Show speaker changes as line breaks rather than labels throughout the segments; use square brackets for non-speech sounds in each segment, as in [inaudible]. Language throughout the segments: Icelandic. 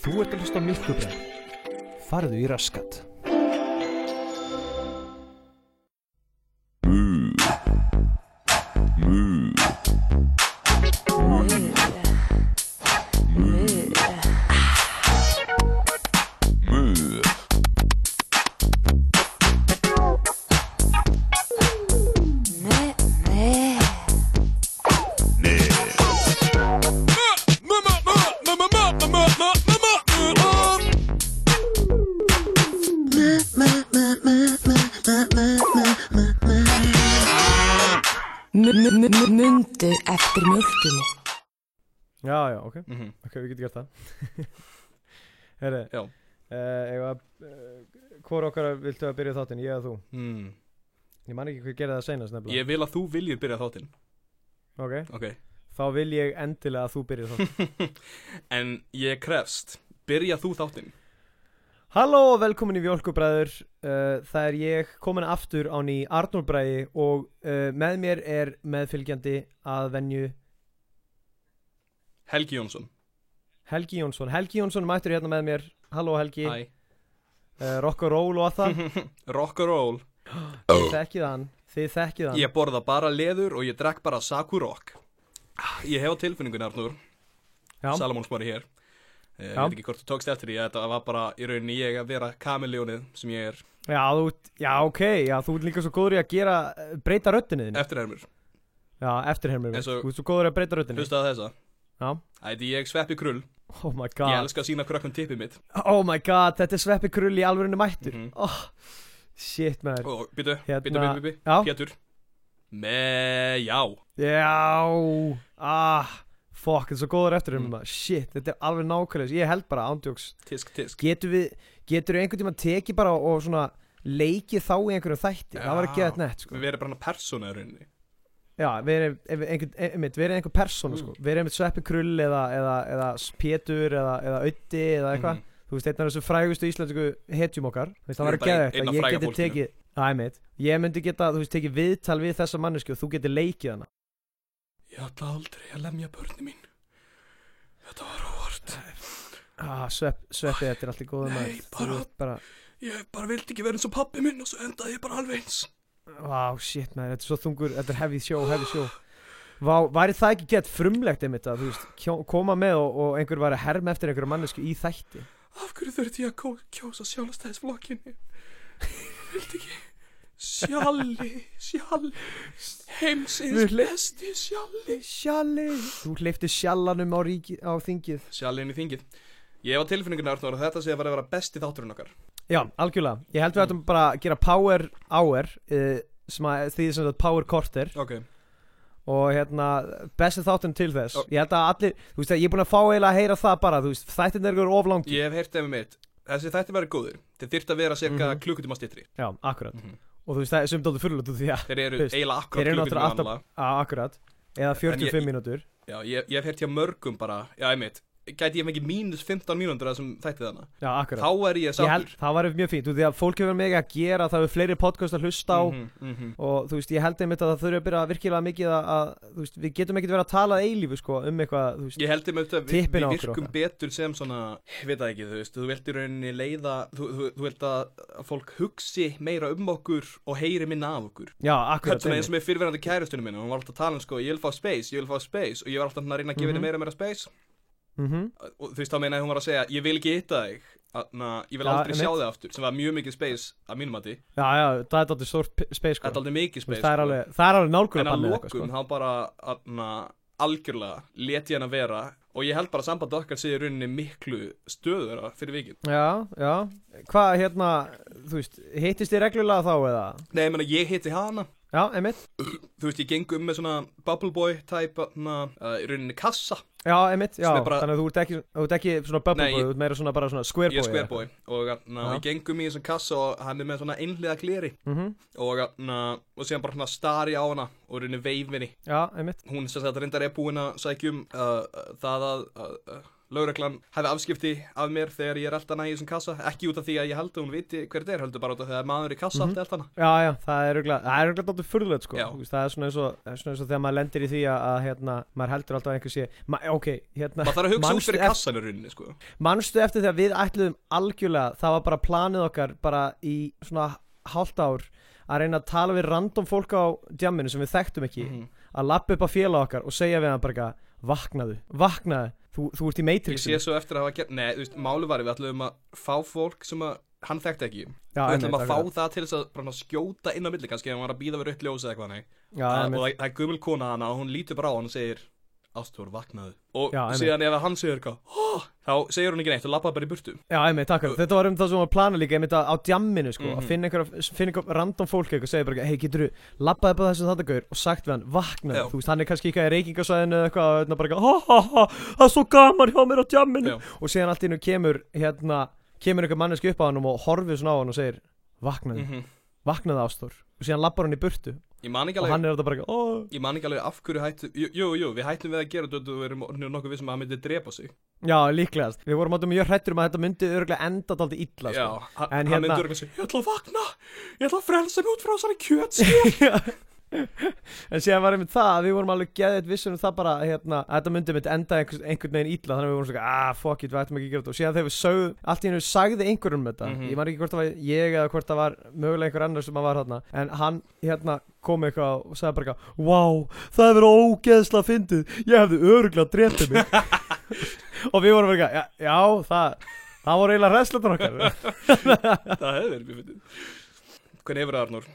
Þú ert að hlusta á Mjölkubræð. Farðu í raskat.
Mundu eftir mjölkinni
Já, já, ok,
Mhm.
ok, við getum gert það [laughs] Herri
Já.
Eh, ef að, uh, hvor okkar viltu að byrja þáttinn, ég eða þú
mm.
ég man ekki hvað gerði það seinast nefnilega
Ég vil að þú viljir byrja þáttinn
ok, [laughs]
Ok
þá vil ég endilega að þú byrja þáttinn [laughs]
En ég krefst Byrja þú þáttinn
Halló og velkomin í Vjólkubræður uh, það er ég komin aftur á ný Arnur Bræði og uh, með mér er meðfylgjandi að venju
Helgi Jónsson
Helgi Jónsson Helgi Jónsson er mættur hérna með mér Halló Helgi,
Æ
uh, rock and roll og allt það
Rock and roll
Þið
Oh.
þekkið hann, þið þekkið hann
Ég borða bara leður og ég drekk bara Saku Rock Ah, Ég hef á tilfinningun Arnur
Já.
Salamón smári hér Eh, Ég
Já.
veit ekki hvort þú tókst eftir því að Þetta var bara í rauninni ég að vera kamiljónið sem ég er
Já, þú, ert- já, ok, já, þú er líka svo góður í að gera, eh, breyta röddinni þinni
eftirhermur
Já, eftirhermur,
Eins
þú
og-
ert svo góður í að breyta röddinni
Hlusta að þessa
Já.
Ætti ég sveppi krull
Oh my
Ég
god,
elska að sína krökkum tippið mitt
oh my god, þetta er sveppi krull í alvörinu mættur
Mhm.
oh, Shit, maður
Og byttu,
Hérna-
byttu, byttu, byttu
Já.
Pétur Með, já
Já, ah, fuck, þetta er svo góður eftirhermur
Mm.
maður Shit, þetta er alveg nákvæmlega, ég held bara ándjóks
Tisk, tisk
Getur við, getur við einhvern tímann tekið bara og svona leikið þá í einhverjum þætti Það var ekki
Já.
þetta nett, sko
Við erum bara hann persóna í rauninni
Já, verið ef- einhvern- e, einmitt, verið einhver persóna sko
Mm.
verið einmitt sveppi krull eða, eða, eða pétur eða, eða ötti eða eitthvað
Mhm.
þú veist, einn af þessu frægustu íslensku hetjum okkar þú veist, það
Við
var
erum
ekki
bara
að
ein- einn af
ég
fræga
geti
fólkinu.
tekið Já, einmitt, ég myndi geta, þú veist, tekið viðtal við þessa mannesku og þú geti leikið hana
Ég ætla aldrei að lemja börni mín Þetta var óvart
ah, svepp, sveppi, þetta er alltaf góða
Nei,
maður
bara-
þú veist bara,
Ég bara vildi ekki vera eins og pappi minn og svo endaði ég bara alveg eins
vá, shit maður þetta er svo þungur, þetta er hefði sjó, hefði sjó Vá, væri það ekki gett frumlegt einmitt að, þú veist, kjó- koma með og, og einhver var að herma eftir einhverju mannesku í þætti
Af hverju þurfti ég að kó- kjósa sjálfstæðisflokkinni Ég vildi ekki Sjalli, sjalli Heimsins
Við hle-
besti sjalli
Sjalli Þú hleyfti sjallanum á, ríki, á þingið
Sjalli inn í þingið Ég hef á tilfinninguna Arnur að þetta sé að vera að vera besti þátturinn okkar
Já, algjörlega Ég held við ættum bara að gera power hour uh, sem að því sem þetta power korter
Ok,
og hérna, besti þáttum til þess
Já.
Ég held að allir, þú veist að ég er búin að fá eiginlega að heyra það bara, þú veist, þættin er ykkur oflangi
ég hef heyrt ef mitt Þessi þætti verið góður Þeir þyrfti að vera cirka mm
Mhm.
klukkutíma styttri
Já, akkurat
Mhm.
Og þú veist, það er sumt áttu fyrirlut því að,
Þeir eru
Þú veist,
eiginlega
þeir
akkurat
eru náttúrulega
klukkutíma
alltaf-
annað
að akkurat eða 45
ég-
mínútur
Já, ég, ég hef hert hjá mörgum bara, já, einmitt, gæti ég fengið mínus 15 mínúndur að þessum þætti þarna.
Já, akkurat
Þá er ég
Ég held,
sáttur.
það var mjög fínt, þú veist, því að fólk hefur mikið að gera það hefur fleiri podcast að hlusta á
Mhm, mhm.
og þú veist, ég held einmitt að það þurfi að byrja virkilega mikið að, að þú veist, við getum ekkert verið að tala að eilífu, sko, um eitthvað, þú veist,
Ég held um auðvitað að við,
Tippin
við
á okkur
virkum
okkar.
betur sem svona, ég veit það ekki, þú veist, þú vilt í rauninni leiða, þú, þú, þú vilt að að fólk hugsi meira um okkur og heyri minna af okkur.
já, akkurat,
Hvernig eins og
einmitt,
með fyrirverandi kærustunum minna, hún var alltaf að tala um sko, ég vil fá space, ég vil fá space og ég var alltaf svona að reyna að gefa henni
Mhm.
meira og meira space
mhm,
og þú veist þá meina að hún var að segja, ég vil ekki hitta þig, na, ég vil
Já,
aldrei sjá
einmitt.
þig aftur, sem var mjög mikið space að mínum að
já, já, það er alltaf stórt p- space,
þetta er
sko,
aldrei mikið
Þú veist,
space.
það er
sko.
alveg, það er alveg
En
nálguna
að
bannið
lokum
eitthvað, sko.
þá bara atna, algjörlega let ég hann að vera og ég held bara að samband okkar sé í rauninni miklu stöðura fyrir vikið.
sko, já, já, hvað, hérna, þú veist, hittist þið reglulega þá eða,
Nei, ég meina ég hitti hana,
já, einmitt,
þú veist ég geng um með svona bubble boy type atna, uh, í rauninni kassa,
já, einmitt, já,
Sem er bara-
þannig að þú ert ekki, þú ert ekki svona bubble
Nei,
boy,
ég-
þú ert meira svona bara svona square
ég
boy,
er square boy og, atna,
Já.
og ég geng um í þessum kassa og hann er með svona einhliða gleri
mhm,
og, atna, og síðan bara svona stari á hana og í rauninni veifinni
já, einmitt,
um, hún sem sagt reyndar er búin að sækjum uh, uh, það að uh, uh, Lögreglan hefði afskipti af mér þegar ég er eldan í þessum kassa, ekki út af því að ég held að hún viti hver þetta er, heldur bara út af því að maður í kassa
Mhm.
átti eldan hana.
Já, já, það er auðvitað, það er auðvitað dáttur furðulegt sko
Já.
Þú veist, Það er svona eins og, það er svona eins og þegar maður lendir í því að, að hérna, maður heldur alltaf að einhver sé ma, Ok, hérna,
Maður þarf að hugsa út
Manstu
fyrir
ef-
kassan í rauninni, sko.
manstu eftir þegar við ætluðum algjörlega Það var bara planið okkar bara í svona hálft ár Að reyna að tala við random fólk á djamminu sem við þekktum ekki
Mhm.
Að lappa upp á félag okkar og segja við hann bara eitthvað, Vaknaðu, vaknaðu, þú, þú ert í
Ég sé
Matrixinu
svo eftir að hafa gert, nei, þú veist, máli var við ætlum að fá fólk sem að, hann þekkti ekki.
Já,
við
einmitt,
ætlum að fá
akkurat.
það til þess að bara skjóta inn á milli kannski ef hann var að býða við rautt ljós eða eitthvað nei.
Já,
Að-
einmitt.
og það, það er gömul kona hana og hún lítur bara á hann og segir Ástúr vaknaðu og
Já, einmitt.
síðan ef hann segir eitthvað "Hó", þá segir hún ekki neitt og lappa bara í burtu
Já, einmitt, takk fyrir. Þetta var um það sem var planað líka, einmitt að- á djamminu, sko,
Mhm.
að finna einhver, finna einhver random fólk eitthvað, segja bara, eitthvað, hei, getur þú, labbaði bara þessum þetta gaur og sagt við hann, vaknaði,
Já.
þú veist, hann er kannski eitthvað í reykingasvæðinu eða eitthvað, og hérna bara, eitthvað, ha, ha, ha, það er svo gaman hjá mér á djamminu.
Já.
Og síðan allt í hennu kemur, hérna, kemur einhver manneski upp á hann og horfið svona á hann og segir, vaknaði,
mm
mm. vaknaði ástór. Og síðan labbar hann í burtu
ég man ekki
og
alveg
hann er þetta bara, eitthvað, oh.
ég man ekki alveg af hverju hættu jú, jú, jú við hættum við að gera þetta og við erum orðnir nokkuð vissum að hann myndi drepa sig
já, líklegast. Við vorum átum mjög hrættur um að þetta myndi örglega enda daldi illa,
já,
sko.
hann,
En
hann
hérna-
myndi örgulega segja ég ætla að vakna ég ætla að frelsa mig út frá þessari
[laughs]
kjötskjöld
en síðan var einmitt það að við vorum alveg geðið vissum um það bara hérna, að þetta myndi mitt enda einhvers, einhvern veginn ítla þannig að við vorum svona ah fuck it, við ættum ekki að gera þetta og síðan þegar við sögðum, allt í hennu sagði einhverjum um þetta
Mhm.
ég man ekki hvort það var ég eða hvort það var mögulega einhver annar sem var þarna en hann hérna kom eitthvað og sagði bara eitthvað wow, það hefur verið ógeðsla fyndið ég hefði öruglega dreptið mig [laughs] og við vorum bara eitthvað já, já það, það voru eiginlega hræðslunar okkar [laughs]
það hefur verið mjög fyndið hvernig hefur það Arnur?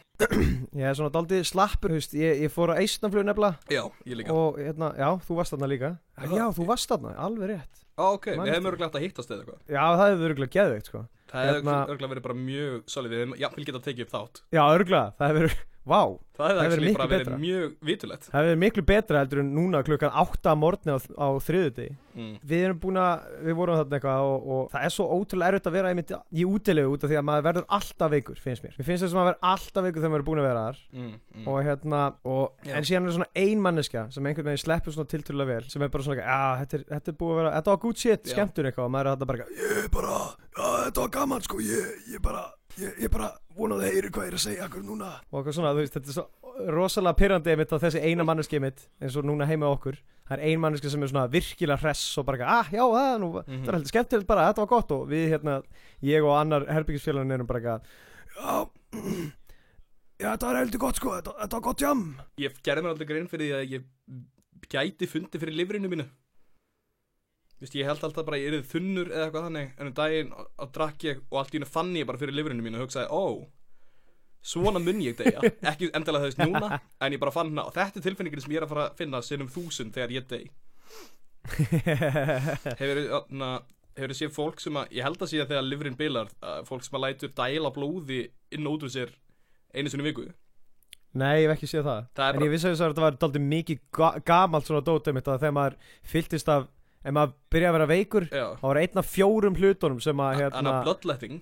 ég er svona daldið slappur, þú veist, ég, ég fór á eistnaflug nefnilega
já, ég líka
og hérna, já, þú varst þarna líka
Já.
já, þú varst þarna, alveg rétt
Ó, ok
man
við hefum
eftir.
örgulega hægt að hittast eða eitthvað
já, það hefur örgulega geðveikt, sko
það hefur
Hérna-
örgulega verið bara mjög solid við hefum jafnvel getað tekið upp þátt
já, örgulega, það hefur, vá
það hefði
Það hefur
actually
miklu
bara verið
betra.
mjög vitulegt
það hefur miklu betra heldur en núna klukkan 8 að morgni á, á þriðuti
mm.
við erum búin að, við vorum þarna eitthvað og, og það er svo ótrúlega erfitt að vera einmitt í útilegu út af því að maður verður alltaf veikur, finnst mér mér finnst þess að maður verður alltaf veikur þegar maður er búin að vera þar
Mm, mm.
og hérna, og,
Já.
en síðan er svona ein manneska sem einhvern veginn sleppur svona tiltrúlega vel sem er bara svona, já, þetta, er- þetta er búið að vera þetta var good shit,
Já.
skemmtun eitthvað og maður er þetta bara, eitthvað,
ég bara, já þetta var gaman sko, ég, ég bara, ég, ég bara vonaði að heyri hvað ég er að segja akkur núna.
og eitthvað svona, þú veist, þetta er svo rosalega pyrrandi einmitt á þessi eina manneski einmitt eins og núna heima hjá okkur, það er ein manneski sem er svona virkilega hress og bara, eitthvað, ah, já, það, nú,
Mhm.
þetta er heldur skemmtilegt bara, þetta var gott og við hérna, ég og annar herbyggisfélagin erum bara, eitthvað,
Já,
[clears throat]
já þetta var heldur gott sko, þetta, þetta var gott jam.
Ég gerði mér aldrei grein fyrir því að ég gæti fundi fyrir lifrinu mínu Þú veist, ég held alltaf bara að ég erið þunnur eða eitthvað þannig En um daginn á, á drakk ég og allt í hennu fann ég bara fyrir lifrinu mínu og hugsaði, ó Svona mun ég
[laughs]
degja, ekki endilega þess núna En ég bara fann hana, og þetta er tilfinningin sem ég er að fara að finna sinnum þúsund þegar ég deg Hefur þið séð fólk sem að, ég held að sé að þegar lifrin bilar að Fólk sem að lætur dæla blóði inn og út úr sér einu sinni í viku
[laughs] nei, ég hef ekki séð það,
Það er
en ég vissi að þess að þetta var daldið mikið ga gamalt svona dót einmitt að þegar maður fylltist af, ef maður byrja að vera veikur
Já,
það var einn af fjórum hlutunum sem að,
hann
hérna,
að bloodletting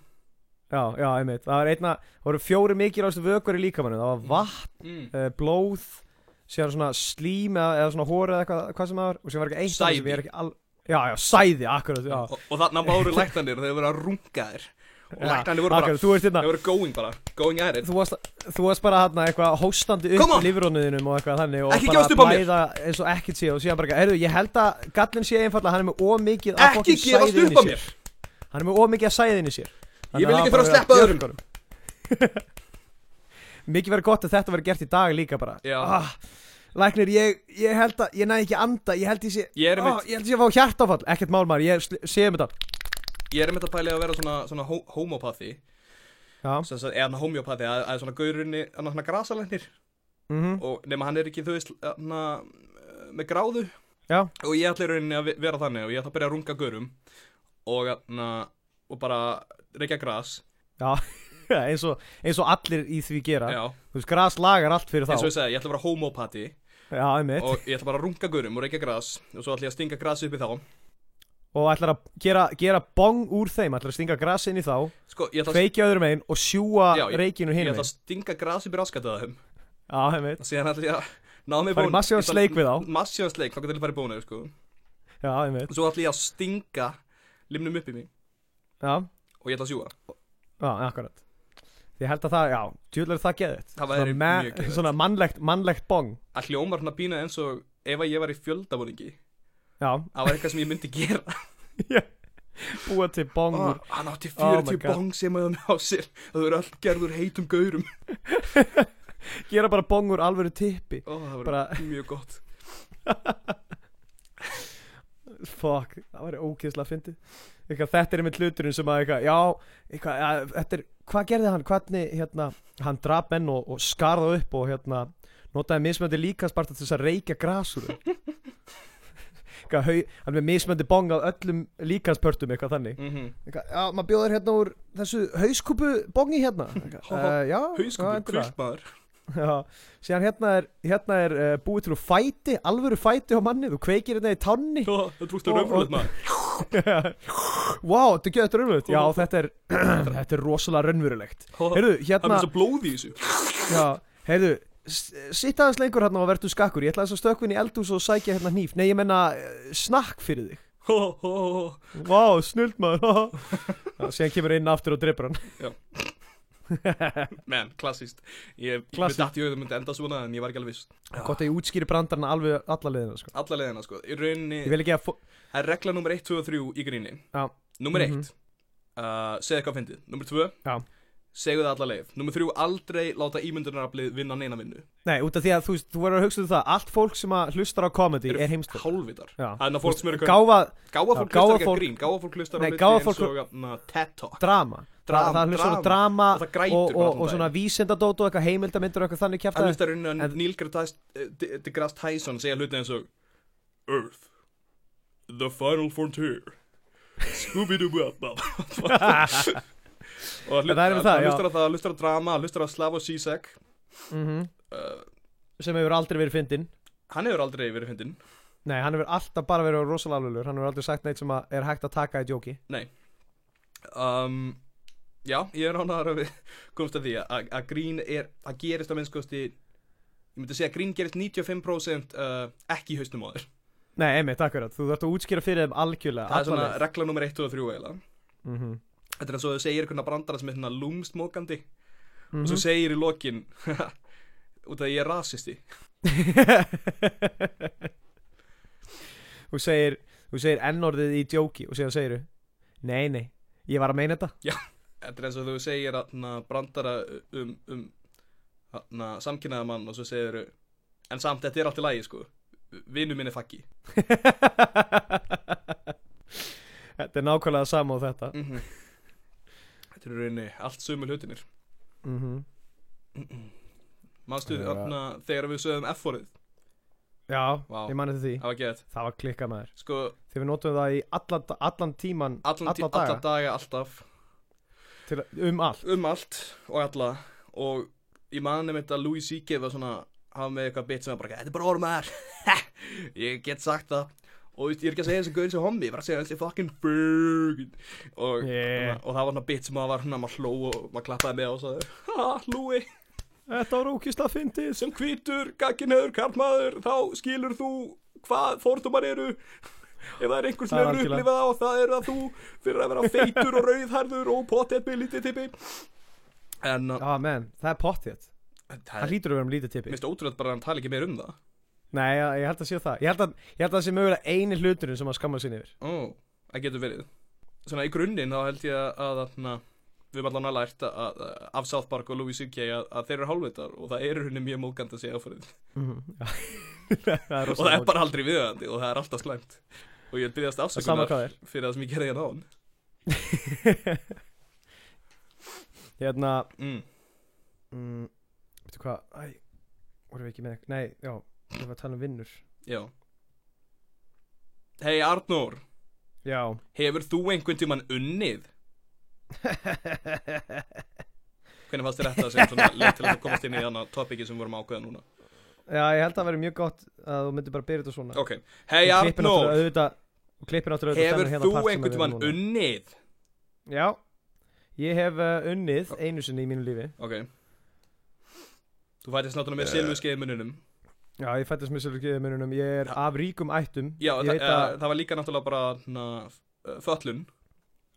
já, já, einmitt það var einn af, það voru fjóri mikilvægstu vökur í líkamannu, það var vatn
mm.
uh, blóð síðan svona slím eða, eða svona hóri eða hvað, hvað sem það var og síðan var ekki eitt af
Sæði.
þessu, ég er ekki al... já, já, sæði, akkurat já.
og, og þarna
[laughs]
voru læknanir þeir voru að runga þér og
Já,
læknanir voru bara
akkurat, þú ert
þeir
hérna
voru going bara going at it
þú varst, þú varst bara hérna eitthvað hóstandi
Come
upp
on!
í lifrónuðinum og eitthvað þannig og
Ekki
bara
gefast upp á mér!
blæða eins og ekkert sé og síðan bara, heyrðu, ég held að gallin sé einfallega, hann er með ómikið af
ekki
fucking
gefast
sæði inn í
upp á
sér.
mér
hann er með ómikið að sæðin í sér
Ég vil
að það
ekki þurfa að
bara
sleppa
vera
öðrum.
björgunum. [laughs] mikið verið gott að þetta verið gert í dag líka bara Ah,
Já.
læknir, ég, ég held að ég næ ekki að anda, ég held ég sé
Ég er
Ah,
einmitt-
ég held ég að fá hjartafall, ekkert mál maður, ég sl- sé um þetta
ég er með þetta pæli að vera svona, svona hó homopathy
já,
sem sagt, eða homopathy að, að svona gaurinni hann hann grasalennir
mhm,
og nema hann er ekki þú veist hann með gráðu
já,
og ég ætla í rauninni að ve- vera þannig og ég ætla að byrja að runga gaurum og hann og bara reykja gras
já [laughs] eins, og, eins og allir í því gera
já,
þú veist, gras lagar allt fyrir þá
eins og ég segi, ég ætla að vera homopathy
[laughs] já, einmitt, og,
og ég ætla bara að runga gaurum og reykja gras og svo ætla ég að stinga gras upp í þá
ætlar að gera, gera bong úr þeim, ætlar að stinga gras inn í þá
sko, ég ætla að
kveikja öðrum einn og sjúa
Já, ég-
reikinu
Ég
hinn
ætla
já,
að stinga grasi upp í raskataðum
einmitt
og [laughs] síðan ætla ég að ná mig
Fara í massívan sleik við þá.
Massíðan sleik, þá getur ég að fara í bónu, sko
Já, ég veit
og svo ætla ég að stinga limnum upp í mig
Já,
og ég ætla að sjúga
já, akkurat Ég held að það, já, djúlega það geðið
Það væri mjög geðveikt.
Svona mannlegt, mannlegt bong
að hljómar svona pína eins og ef að ég var í fjöldabóringi
Já,
það var eitthvað sem ég myndi
[laughs]
gera
búa til bong
ah,
úr
hann átti
Oh my
40
God.
bong sem hefði með á sér það voru allt gerður heitum gaurum
Gera bara bong úr alvöru tippi
Ó, það var
Bara-
mjög gott
Fuck, það væri ógeðslega fyndið eitthvað, Þetta er einmitt hluturinn sem að eitthvað, Já, eitthvað, ja, þetta er Hvað gerði hann, hvernig, hérna Hann draf menn og, og skarða upp og hérna Notaði mismöndi líkasparta til þess að reykja grasur
[laughs]
Eitthvað, hau, hann er með mismöndi bong af öllum líkanspörtum eitthvað þannig
mm
eitthvað, Já, maður bjóður hérna úr þessu hauskúpu bongi [laughs] hérna Eitthvað, eh, Já, já,
hauskupu,
endilega.
kvöldmaður
[laughs] Já, síðan hérna er, hérna er uh, búið til úr fæti, alvöru fæti á manni, þú kveikir hérna í tanni
það trúst
Og-
að
og-
raunfjöld maður
[laughs] Vá, þetta er gjöður raunverulegt Já, þetta er, [clears throat] þetta er rosalega raunverulegt
Ó,
Heyrðu,
það er
hérna
svo blóð í þessu
já, Heyrðu, sitt aðeins lengur hérna og verður skakkur Ég ætla aðeins að stökkvinn í eldús og sækja hérna hníf Nei, ég menna eh, snakk fyrir þig
Ó, ó, ó.
Vá, snullt maður [laughs] Já, Síðan kemur inn aftur og dreipur hann
menn, klassist ég
Klassískt.
dætti auðvitað myndi enda svona en ég var ekki alveg viss
Gott að ég útskýri brandarna alveg alla leiðina sko.
alla leðina sko í
Ég
rauninni
vil ekki að fó...
það er regla nummer 1, 2 og 3 í gríni
Já.
nummer 1
Mhm.
uh, segðu eitthvað fyndið nummer 2
Já.
segðu það alla leið nummer 3 aldrei láta ímyndunaraflið vinna neina vinnu
Nei, út af því að þú, veist, þú verður að hugsa um það Allt fólk sem að hlustar á comedy
Eru
er heimstur
hálfvitar
Já.
þannig að fólk sem eru eitthvað-
Gáfa
gáfa
Já,
fólk
gáfa
hlustar ekki að
fólk-
grín gáfa fólk hlustar á
Nei,
hluti
gáfa
eins
fólk-
og na, TED Talk
drama
Drama,
Það hlustar á
drama.
drama
Og það grætur
og,
bara
og, og
allan
svona
daginn.
vísindadót og eitthvað heimildamindur og eitthvað þannig
það
kjæfta
hlustar inn að
en-
Neil deGrasse eh, de- deGrasse Tyson segja hluti eins og Earth The Final Frontier
[laughs]
Scooby-Doo-Bop og
En það er með
hlut-
það,
hann
já.
hlustar á það hann hlustar á drama hann hlustar á Slav og Zizek
mm
uh,
sem hefur aldrei verið fyndin
hann hefur aldrei verið fyndin
Nei, hann hefur alltaf bara verið rosalega alvegulegur Hann hefur aldrei sagt neitt sem að er hægt að taka í djóki
um, já, ég er ánæður að við komst að því að, að grín er að gerist á minnskosti ég myndi segja að grín gerist 95% uh, ekki í haustum á þér
Nei, einmitt, akkurat, þú þarft að útskýra fyrir þeim algjörlega
það er svona
alla leið.
regla nummer 1 og 3 eiginlega
Mhm,
þetta er eins og þau segir einhverna brandara sem er svona lúmsmókandi og svo
mhm.
segir í lokin [laughs] út að ég er rasisti
[laughs] Þú segir, þú segir ennorðið í djóki og síðan segir þú Nei, nei, ég var að meina þetta [laughs]
þetta er eins og þú segir að brandara um, um na, samkynnaða mann og svo segir en samt þetta er allt í lagi sko vinnu minn er faggi
Þetta er nákvæmlega sama á þetta
mm þetta er í rauninni allt sömu hlutinir
mm Mhm.
manstu
Já.
þarna þegar við sögum F-orðið
Já,
Vá.
ég mani því
það var gett
Það var klikkað maður
sko
Þegar við notum það í allan, allan tíman
allan,
Alla
alla,
daga.
alla daga alltaf
til, um allt
um allt og alla og ég man nefnir þetta að Louis C.K. var svona hafa með eitthvað bit sem var bara þetta er bara ormaðar [laughs] ég get sagt það og veist, ég er ekki að segja þessi gauðin sem hommi ég er bara að segja þessi fucking burg og,
Yeah.
og það var svona bit sem maður var svona maður hló og maður klappaði með og sagði ha Louis
Þetta var ókist að fyndið
sem hvítur gagginöður karlmaður þá skilur þú hvað fórtumar eru [laughs] ef það er einhver sem
Það er
hefur
algjörlega.
upplifað á það er það þú fyrir að vera feitur og rauðharður og pottet með lítið tippi en uh,
Já menn, það er pottið
það
Það hlýtur að vera um lítið tippi
Mér finnst ótrúlega bara að hann tala ekki meir um það
Nei, já, ég held að sé það Ég held að, ég held að það sé mögulega eini hluturinn sem að skamma sinni yfir
Ó, það getur verið Svona í grunninn þá held ég að, að þarna, Við erum allan að lært að, að, af South Park og Louis C.K. Að, að þeir eru hálfveitar og það eru henni mjög mókand að segja áfærið
Mhm. [laughs] Það er
og það
rosalega
er bara aldrei viðöðandi og það er alltaf slæmt og ég vil byggjast
Það sama
afsökunar
hvað er
fyrir það sem ég gerði hérna á hann
[laughs] Hérna,
mm.
mm, veitu hvað, æ, vorum við ekki með Nei, já, við varum að tala um vinnur
Já Hei Arnór, [laughs]
Já
hefur þú einhvern tíman unnið? Hvernig fannst þér þetta sem svona
[laughs]
leið til að komast inn í annað topiki sem við vorum að ákveða núna?
Já, ég held að það veri mjög gott að þú myndir bara byrja þetta svona
Ok, hei
Og klippir
Arnór,
náttúrulega auðvitað- Og klippir náttúrulega auðvitað
Hefur
þennan hérna
þú
part sem
einhvern
við erum
tímann
núna.
unnið?
Já, ég hef uh, unnið einu sinni í mínu lífi
Ok Þú fættist náttúrulega með silfurskeiði í mununum
Já, ég fættist með sérlega mununum, ég er
Já.
af ríkum ættum
Já,
ég
það, eh,
veit
að...
að,
það var líka náttúrulega bara hérna, na, föllun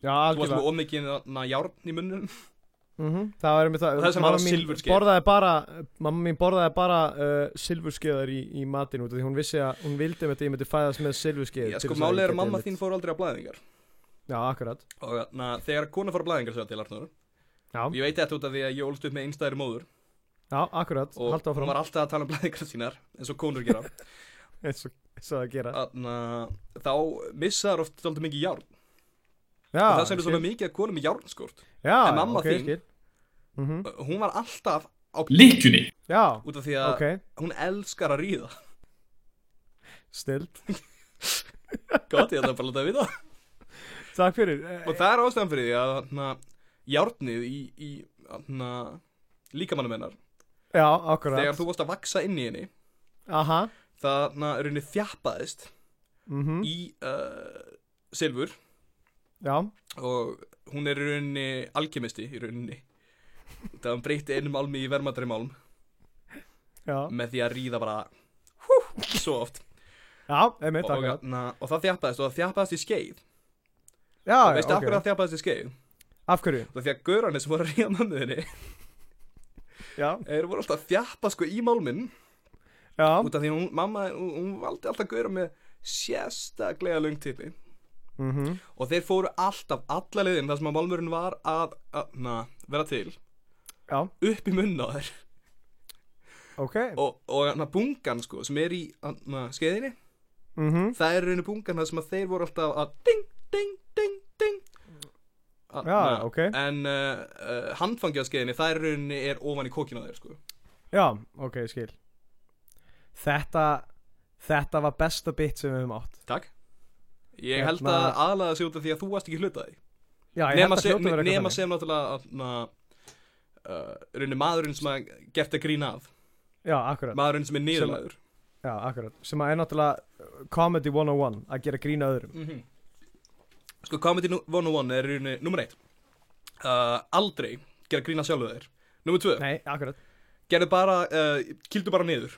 já,
Þú varst
algjörlega
með ómikið na, járn í munnum
mm Það var með það,
Það sem
mamma
var
mín
silfurskeið.
borðaði bara, mamma mín borðaði bara uh, silfurskeiðar í, í matinn út af því hún vissi að hún vildi með þetta ég myndi fæðast með silfurskeið
Já, sko málið er að mamma þín fór aldrei á blæðingar
Já, akkurat,
Og na, þegar kona fór á blæðingar sér til Arnur
já,
Ég veit þetta út af því að ég ólst upp með einstæðri móður
já, akkurat,
Og
halda
hún
áfram
var alltaf að tala um blæðingar sínar eins og
[laughs]
konur gera
eins og eins og það gera
Þannig að þá missaðar oft svolítið mikið járn
Já,
og það sem er
ég
svona
skil.
mikið að konum með járnskort
Já,
en mamma
ok, ég
þín-
skil. Mhm.
Hún var alltaf á
Lykkjunni
Já,
út af því að
ok,
hún elskar að [laughs] ríða
stilt
Gott, ég ætla bara að láta að vita
Takk fyrir
Og það er ástæðan fyrir því að hana, járnið í, í hana, líkamannum hennar
Já, akkurat
Þegar þú varst að vaksa inn í henni
Aha,
Það hana, rauninni þjappaðist
mhm,
í uh, silfur
já
Og hún er í rauninni alkemisti í rauninni Það hann breytti einum álmi í vermadri málm
Já,
Með því að ríða bara hú, Svo oft
já, einmitt,
og, og,
akkurat
hana, og það þjappaðist og það þjappaðist í skeið
Já,
Og
já,
veistu af hverju
ok
það þjappaðist í skeið?
Af hverju?
Það því að gaurarnir sem voru að ríða mömmuðinni
Já,
Þeir voru alltaf að þjappa sko í málminn
já
út af því að hún, mamma, hún, hún valdi alltaf gauðra með sérstaklega löngtipi
mhm
og þeir fóru alltaf, alla leiðin þar sem að málmurinn var að, að na, vera til
Já.
upp í munn á þær
Ok,
og, og na, bungan sko sem er í na, skeiðinni
mhm,
það er reyni bungan þar sem að þeir voru alltaf að ding, ding, ding, ding að,
Já, ok.
en uh, uh, handfangi á skeiðinni það er reyni er ofan í kokinu á þér sko
já, ok, ég skil Þetta, þetta var besta bit sem við höfum átt
takk ég
Hérna-
held að aðlaða sig út af því að þú varst ekki hlutaði
Já, ég held
nema
að
sem,
hljóta vera
nema
eitthvað þannig
sem náttúrulega na, uh, raunir maðurinn sem að gert að grína af
Já, akkurat,
maðurinn sem er niðurlæður
já, akkurat Sem að er náttúrulega uh, comedy 101 að gera grína öðrum
sko Comedy 101 er raunir nummer 1 uh, aldrei gera grína sjálfu þeir nummer 2,
Nei, akkurat,
gerðu bara uh, kildu bara niður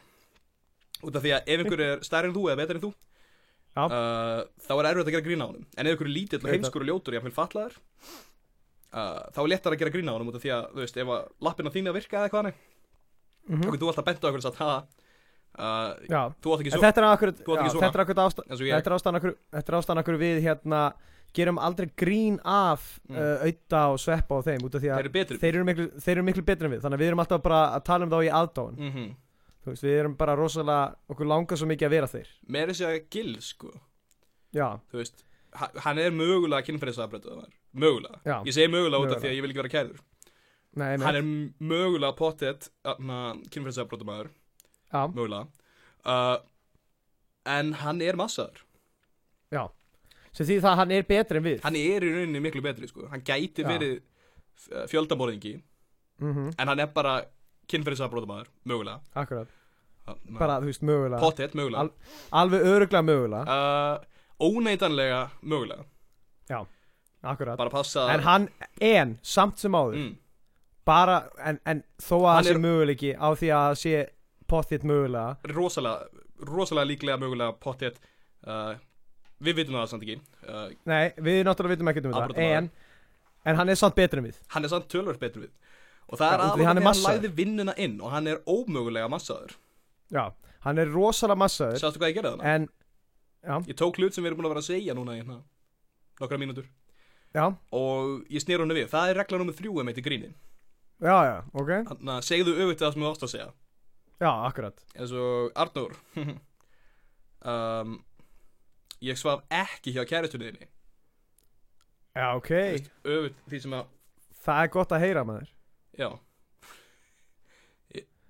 út af því að ef einhver er stærri en þú eða betri en þú
Já.
uh, þá er erfitt að gera grína á honum en ef einhver er lítill og
Ég veit
heimskur og ljótur jáfnvel fatlaður uh, þá er léttar að gera grína á honum út af því að þú veist ef að lappina þín að virka eða hvað hann
mhm,
Okkur, þú alltaf bent á okkur og sagt, haha, uh,
já
þú átt ekki
En
svo,
þetta er akkurat,
þú átt
já,
ekki svona.
þetta er akkurat ástæð
eins og ég,
Þetta er ástæðan okkur, þetta er ástæðan okkur við hérna gerum aldrei grín af
Mm.
uh, auða og sveppa á þeim út af því
þeir
að
eru betri.
þeir eru, miklu, þeir eru miklu betri en við þannig að við erum alltaf bara að tala um þá í aðdáun
Mm -hmm.
þú veist, við erum bara rosalega okkur langar svo mikið að vera þeir
Mér er þessi að Gil, sko,
já,
þú veist, ha- hann er mögulega kynferðisafbreytuð, mögulega.
Já.
Ég segi mögulega út af
Mögulega.
því að ég vil ekki vera kærður.
nei, nei,
Hann er m- mögulega pottet, kynferðisafbreytumæður,
já,
mögulega. Uh, en hann er massaður.
sem því það að hann er betri en við
Hann er í rauninni miklu betri, sko. Hann gæti
Já.
verið uh, fjöldamorðingi,
Mhm,
en hann er bara kynferðisafbreytumæður, mögulega.
akkurat,
Þarna,
bara þú veist, mögulega
Pottet, mögulega.
Al- alveg öruglega mögulega,
uh, óneitanlega mögulega
akkurat
bara passa
en hann, en, samt sem áður
mm,
bara, en, en þó að það
Hann
sé
er-
möguleiki á því að það sé pottitt mögulega
rosalega rosalega líklega mögulega pottet uh, við vitum það samt ekki uh,
Nei, við náttúrulega vitum ekkert um þetta
Afbrotamaður.
en, en hann er samt betur en við
hann er samt tölvöld betur við og það
Já,
er
út af því
aðlega
hann er
því hann
massaður.
læði vinnuna inn og hann er ómögulega massaður
Já, hann er rosalega massaður
sástu hvað ég gerði þarna?
En,
ég tók hlut sem við erum búin að vera að segja núna í hérna nokkra mínútur
já,
og ég snýr honu við það er regla nummið þrjú um eitt í gríni
já, já, ok
þannig að segðu auðvitað það sem þú ást að segja
Já, akkurat
eins og Arnur [laughs] um, ég svaf ekki hjá kæristunniðinni
Já, ok,
öfut því sem að
það er gott að heyra maður
já,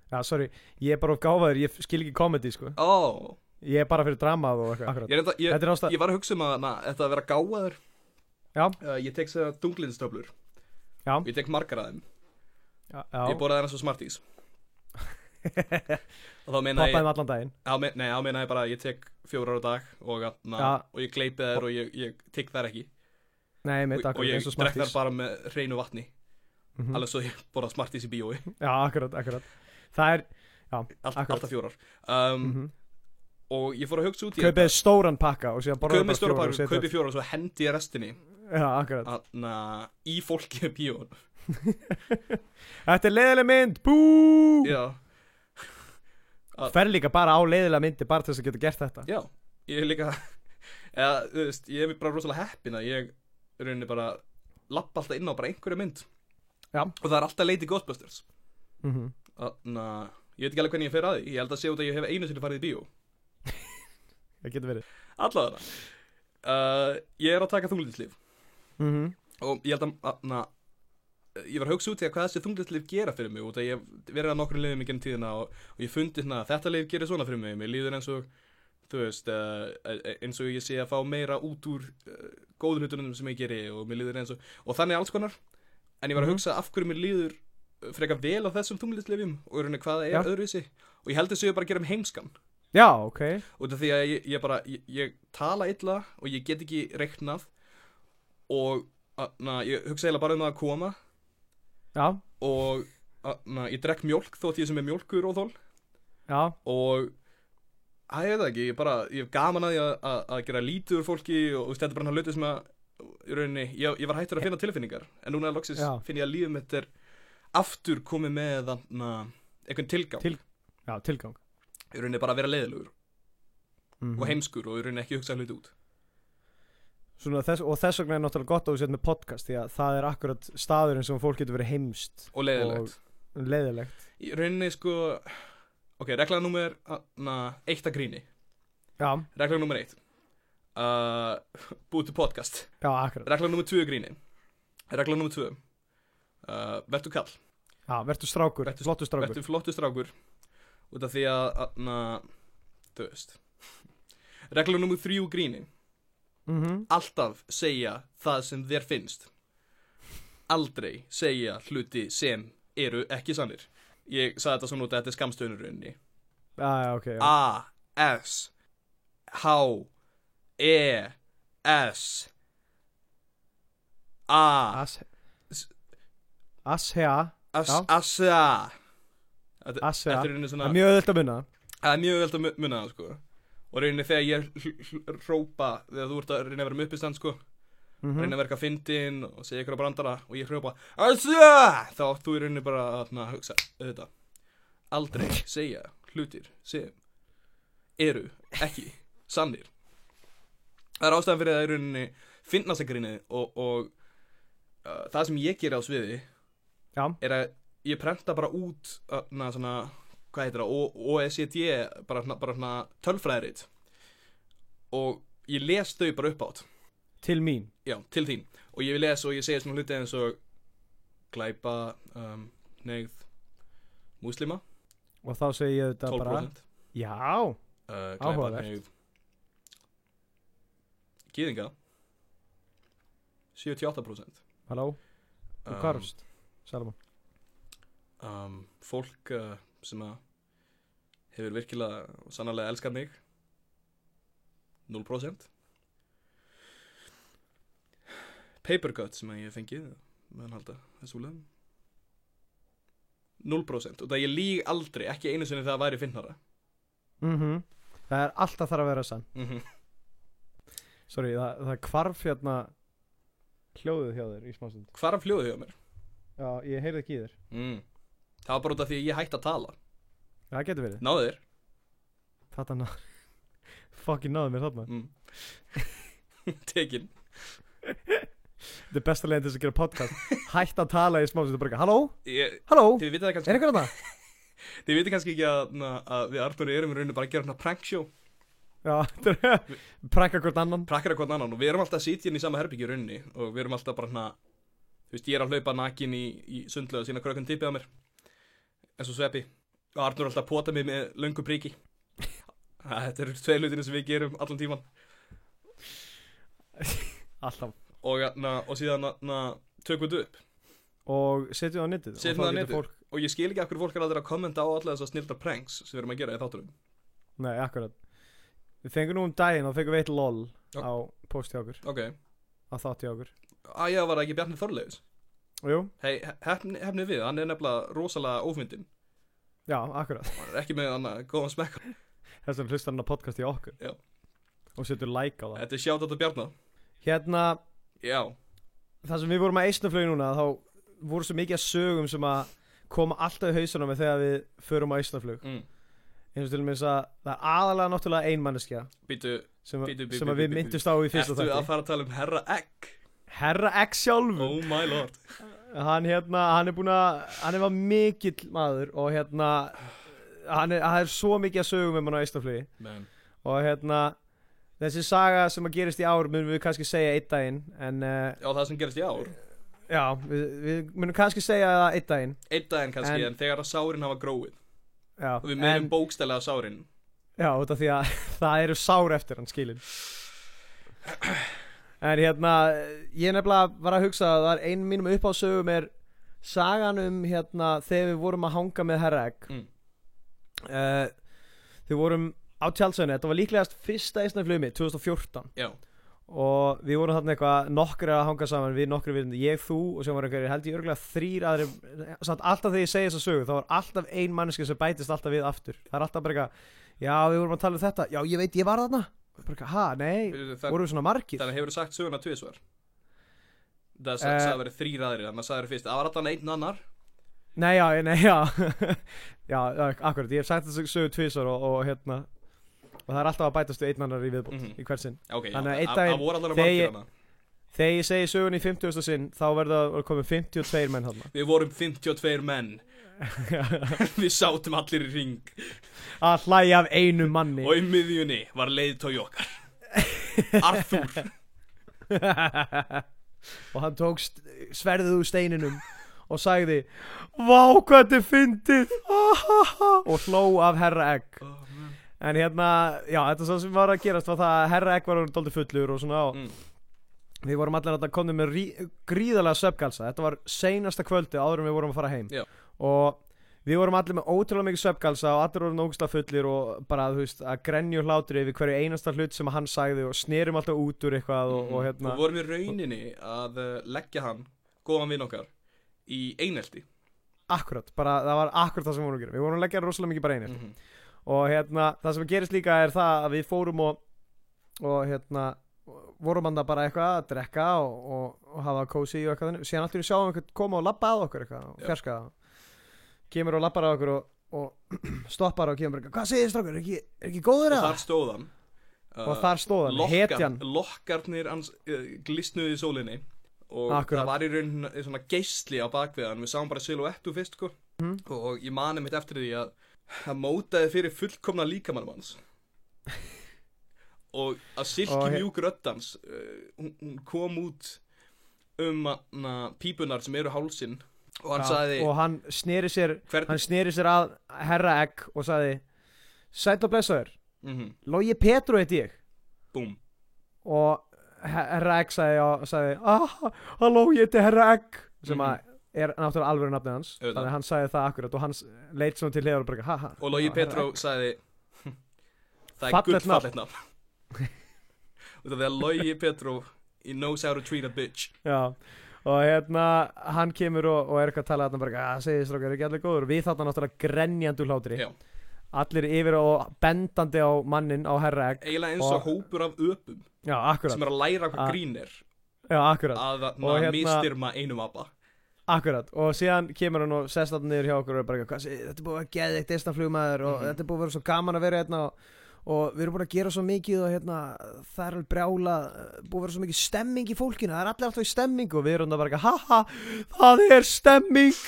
Já, sorry, ég er bara of gáfaður, ég skil ekki komedi, sko
ó,
Ég er bara fyrir dramað og eitthvað
ég,
Akkurat,
reynda, ég,
þetta er ástæð
ég var að hugsa um að na, þetta að vera gáðar
Já.
ég tek sér dunglinstöflur
Já.
ég tek margar að þeim,
Já,
ég borðaði hennar svo
[laughs]
smartís og þá meina ég
poppaðum allan daginn
þá me- nei, þá meina ég bara að ég tek fjórar á dag og, að, na,
Já.
og ég gleipi þær og ég, ég tek þær ekki
Nei, mitt,
og, og
akkurat,
ég
eins og
drekk þær
smartís
bara með reynu vatni
Mhm.
alveg svo ég borða smartís í bíói [laughs]
Já, akkurat, akkurat Það er, Já,
All,
akkurat.
alltaf fjórar um,
Mhm.
og ég fór að hugsa út í
Kaupið stóran pakka og síðan borðar
kaupið
fjóra
stóra
og
pakka,
setja-
kaupið fjórar og svo hendi ég restinni
Já, akkurat
Anna, í fólki í bíó
Þetta er leiðileg mynd, bú
já, Já.
Fer líka bara á leiðilega myndi bara til þess að geta gert þetta
já, ég er líka [laughs] eða, þú veist, ég er bara rosalega heppin að ég í rauninni bara lappa alltaf inn á bara einhverja mynd
Já.
og það er alltaf leiti Ghostbusters
mm
Þannig ég veit ekki alveg hvernig ég fer að því Ég held að sé út að ég hef einu sinni farið í bíó
Það getur verið
Allavega uh, Ég er að taka þunglinslif
mm -hmm.
Og ég held að, þarna, Ég var að hugsa út í að hvað þessi þunglinslif gera fyrir mig Út að ég hef verið að nokkur liðum í genn tíðina Og, og ég fundi hérna að þetta lif gerir svona fyrir mig Mér líður eins og Þú veist, uh, eins og ég sé að fá meira út úr uh, góður hlutunum sem ég geri og mér líður eins og, og þannig alls konar en ég var að
Mhm.
hugsa af hverju mér líður uh, frekar vel á þessum tunglitslefjum og í rauninni hvað það
Já.
er öðruvísi og ég held þessu ég bara að gera um heimskan
Já, ok
út af því að ég, ég bara ég, ég tala illa og ég get ekki reiknað og að, na, ég hugsa eiginlega bara um það að koma
Já,
og að, na, ég drekk mjólk þótt ég sem er mjólkur og þól
já,
og að ég veit það ekki, ég bara, ég hef gaman að, því að, að, að gera lítur fólki og þú veist, þetta er bara hann hluti sem að í rauninni, ég, ég var hættur að finna tilfinningar en núna loksins
Já.
finn ég að lífum þetta er aftur komið með na, einhvern tilgang,
Til- já, tilgang
í rauninni bara að vera leiðilegur
mm
og heimskur og í rauninni ekki hugsa hluti út
Svona, þess, og þess vegna er náttúrulega gott að þú sett með podcast því að það er akkurat staðurinn sem fólk getur verið heimst
og leiðilegt
leiðilegt
í rauninni sko ok, regla nummer na, eitt að gríni
já,
regla nummer eitt uh, búið til podcast
já, akkurat
regla nummer tvö er gríni regla nummer tvö uh, vertu kall,
já, verður strákur,
Vertu-
flottur strákur
vertu flottu strákur út af því að na, þú veist regla nummer þrjú er gríni
mm
alltaf segja það sem þér finnst aldrei segja hluti sem eru ekki sannir ég sagði þetta svona út að þetta er skamstöðunurunni
já, já, ok, já,
A S H E S A
as ashea,
As
Já.
Asja Þetta
Asja.
þetta er í rauninni svona
það er mjög öðvöld að munna
Það er mjög veld að mu- muna það sko Og í rauninni þegar ég hl- hl- hrópa Þegar þú ert að reyna að vera með uppistand sko
mm
Reyna að verka fyndin og segja ykkur á brandara Og ég hrópa Asja Þá átt þú í rauninni bara að na, hugsa Þetta Aldrei segja hlutir sem Eru ekki sannir Það er ástæðan fyrir að í rauninni Finnast að grínið og, og uh, Það sem ég geri á sviði
já,
er að ég prenta bara út uh, na, svona, hvað heitir það, O- OECD bara, svona- bara svona tölfræðirit og ég les þau bara upp átt
til mín
já, til þín og ég les og ég segja svona hluti eins og glæpa um, negð múslima,
og þá segi ég þetta bara
12%
já,
uh, glæpa
Áhugavert.
negð gýðinga 78%
halló, þú
Um,
hvarfst Salomon,
um, fólk uh, sem að hefur virkilega og sannarlega elskað mig 0% papercut sem að ég hef fengið meðan halda þessu úlega 0% og það ég líg aldrei, ekki einu sinni það væri finnara
mhm það er alltaf þarf að vera sann
mm
sorry, það, það hvarf hérna hljóðið hjá þér í smástund
hvar af hljóðu hjá mér
já, ég heyrði ekki í þér,
mm. það var bara út af því að ég hætti að tala
það getur verið
náðu þér
Þetta ná [laughs] Fucking náðu mér þarna
mm. [laughs] tekin
Þetta er besta leiðin til þess að gera
[laughs]
podcast Hætt að tala í smá sem þetta bara eitthvað, Halló,
ég,
halló,
þið vitið það kannski
er einhver þarna?
Þið veitir kannski ekki að, na, að við Arnur erum í rauninu bara að gera hérna prank show
Já, [laughs] þetta er Pranka hvort annan
Prakkar að hvort annan og við erum alltaf að sitja inn í sama herbyggju í rauninni Og við erum alltaf bara hérna Þú veist, ég er að hlaupa nakin í, í sundlega sína krökun tippið á mér En svo sveppi Og Arnur er alltaf að pota mig með löngu priki [laughs] Ha, Þetta eru tvei hlutinu sem við gerum allan tíman
Alltaf
Og, na, og síðan na, na, tökum við þetta upp
Og setjum það á netið
Setjum það
Og
á
þá getur
netið.
fólk-
Og ég skil ekki af hverju fólk er aldrei að kommenta á alla þessar snildar pranks Sem við erum að gera í þáttunum
Nei, akkurat Við fengum nú um daginn og fengum við eitt lol
Já.
Á post hjá okkur,
Ok,
á þátt hjá okkur
að ég var það ekki Bjarni Þorleifis
Og jú,
Hei, hefni, hefni við, hann er nefnilega rosalega ófmyndin
Já, akkurat [laughs]
Maður er ekki með annað góðan smekk
Þess vegna hlustar hann á podcast í okkur
Já.
Og setur like á það
Þetta er sjátt á Bjarnar
Hérna,
Já,
þar sem við vorum að eisnaflögi núna Þá voru svo mikið að sögum sem að koma alltaf í hausunum þegar við förum á eisnaflög
mm.
eins og til og með þess að það er aðalega náttúrulega einmanneskja
býtu
sem,
Bíddu, bíddu,
sem að við
bíddu,
myndust á í fyrsta
Ertu að
þætti Mm.
fara að tala um Herra Egg?
Herra X sjálfur
Oh my lord
hann hérna, hann er búin að hann er var mikill maður og hérna hann er, hann er svo mikið að sögum um hann á Ístaflögi
Men.
og hérna þessi saga sem að gerist í ár munum við kannski segja einn daginn en uh,
Já, það sem gerist í ár
já, við, við munum kannski segja það einn daginn
Einn daginn kannski,
En-
en, þegar að sárin hafa gróið
já,
Og við
en,
meðum bókstælega sárin
já út af því að [laughs] það eru sár eftir hann skilin en hérna ég nefnilega var að hugsa að það er ein mínum upp á sögum er sagan um hérna þegar við vorum að hanga með herra egg
mm.
uh, Þið vorum á tjálsöðinu Þetta var líklegast fyrsta eisnaflömi 2014
Já,
Og við vorum þarna eitthvað nokkri að hanga saman Við nokkri viðnum, ég, þú og sem var einhverjir Held ég örgulega þrýr aðri Samt alltaf þegar ég segi þessa sögu Þá var alltaf ein manneski sem bætist alltaf við aftur Það er alltaf bara eitthvað Já, við vorum að tala um þetta Já, ég veit, ég var þarna Bara eitthvað, ha, nei
þannig
Vorum við svona margir
þann hefur sagt söguna tvisvar Það uh,
Eh.
sagði verið þrýr aðrir Þannig að sagði verið fyrst, það var alltaf einn annar
Nei, já, nei, já [laughs] Já, akkurat, ég hef sagt þessu sögu tvisar og, og hérna Og það er alltaf að bætast við einn annar í viðbútt
Mhm.
Í hvert sinn
Já, Ok, já,
Þannig að einn
það-
daginn
það voru allan að
þegar ég-
margir hana
Þegar ég segi sögun í 50. sinn þá verða að koma 52 menn hann
Við vorum 52 menn
[laughs]
Við sátum allir í ring
að hlæja af einu manni [laughs]
Og í miðjunni var leiðtói okkar Arthur
og hann tók st- sverðið úr steininum og sagði Vá hvað þetta er fyndið Ahaha." og hló af herra
Oh,
egg en hérna, já, þetta svo sem var að gerast var það að herra egg var orðin dóldi fullur og svona og
Mm.
við vorum allir að komna með rí, gríðalega svefgalsa þetta var seinasta kvöldi áður en við vorum að fara heim
Já.
og við vorum allir með ótrúlega mikið svefgalsa og allir vorum ógustlega fullir og bara þú veist að grenju hlátri yfir hverju einasta hlut sem hann sagði og snerum alltaf út úr eitthvað og, og hérna
Við vorum í rauninni að eh, leggja hann Góðan vinn okkar Í einelti
akkurat, bara það var akkurat það sem við vorum að gera við vorum að leggja rosalega mikið bara einir
Mhm.
og hérna, það sem gerist líka er það að við fórum og, og hérna vorum hann bara eitthvað að drekka og, og, og hafa kósi og eitthvað þannig síðan alltaf við sjáum einhvern koma og labba að okkur eitthvað og
Já.
fjarska það kemur og labbar að okkur og, og [clears throat] stoppar og kemur bara, hvað segir þið strákur, er ekki, er ekki góður
Og
að
þar stóð hann eh,
og þar stóð hann, hetjan
Lokkarnir hans uh, glistnuði í sólinni Og
Akkurat.
það var í rauninni svona geistli á bakviðan Við sáum bara siluettu fyrst sko.
Mhm.
Og ég mani mitt eftir því að Hann mótaði fyrir fullkomna líkamannum hans Og að
Og
silki
he-
mjúk röddans uh, hún, hún kom út Um na, pípunar sem eru hálsinn Og hann
Já,
sagði
og hann sneri sér
Hvernig
hann sneri sér að herra egg og sagði sætt og blessaður,
mm
Logi Petru heiti ég
Búm
og he- Herra Egg sagði, og sagði ah, halló, ég heiti Herra Egg sem að er náttúrulega alvöru nafnið hans
Mhm. Auðvitað.
þannig að hann sagði það akkurat og hann s- leit svona til hefur og bara ha, ha,
Og Logi
ha,
Petró
Herra Egg. [laughs]
sagði Það er
Fallegt
gullfallet nafn Og það er Logi Petró He knows how to treat a bitch
já og hérna hann kemur og, og er eitthvað að tala þarna bara að segja strákar er ekki allir góður við þarna náttúrulega grenjandi úr hlátri
Já.
allir yfir og bendandi á mannin á Herra Egg
Eiginlega eins og
Og-
hópur af öpum
já,
Sem
akkurat,
er að læra hvað
A-
grín er
já, akkurat.
Að
Og
hérna...
hérna-
mistyrma einum apa
Akkurat, og síðan kemur hann og sest þarna niður hjá okkur og er bara eitthvað, "Hvað sé- þetta er búið að geða eitt eistaflugmaður og
Mhm.
þetta er búið að vera svo gaman að vera hérna og, og við erum búin að gera svo mikið og hérna, það er alveg brjála búið að vera svo mikið stemming í fólkinu það er allir alltaf í stemming og við erum það bara eitthvað haha, það er stemming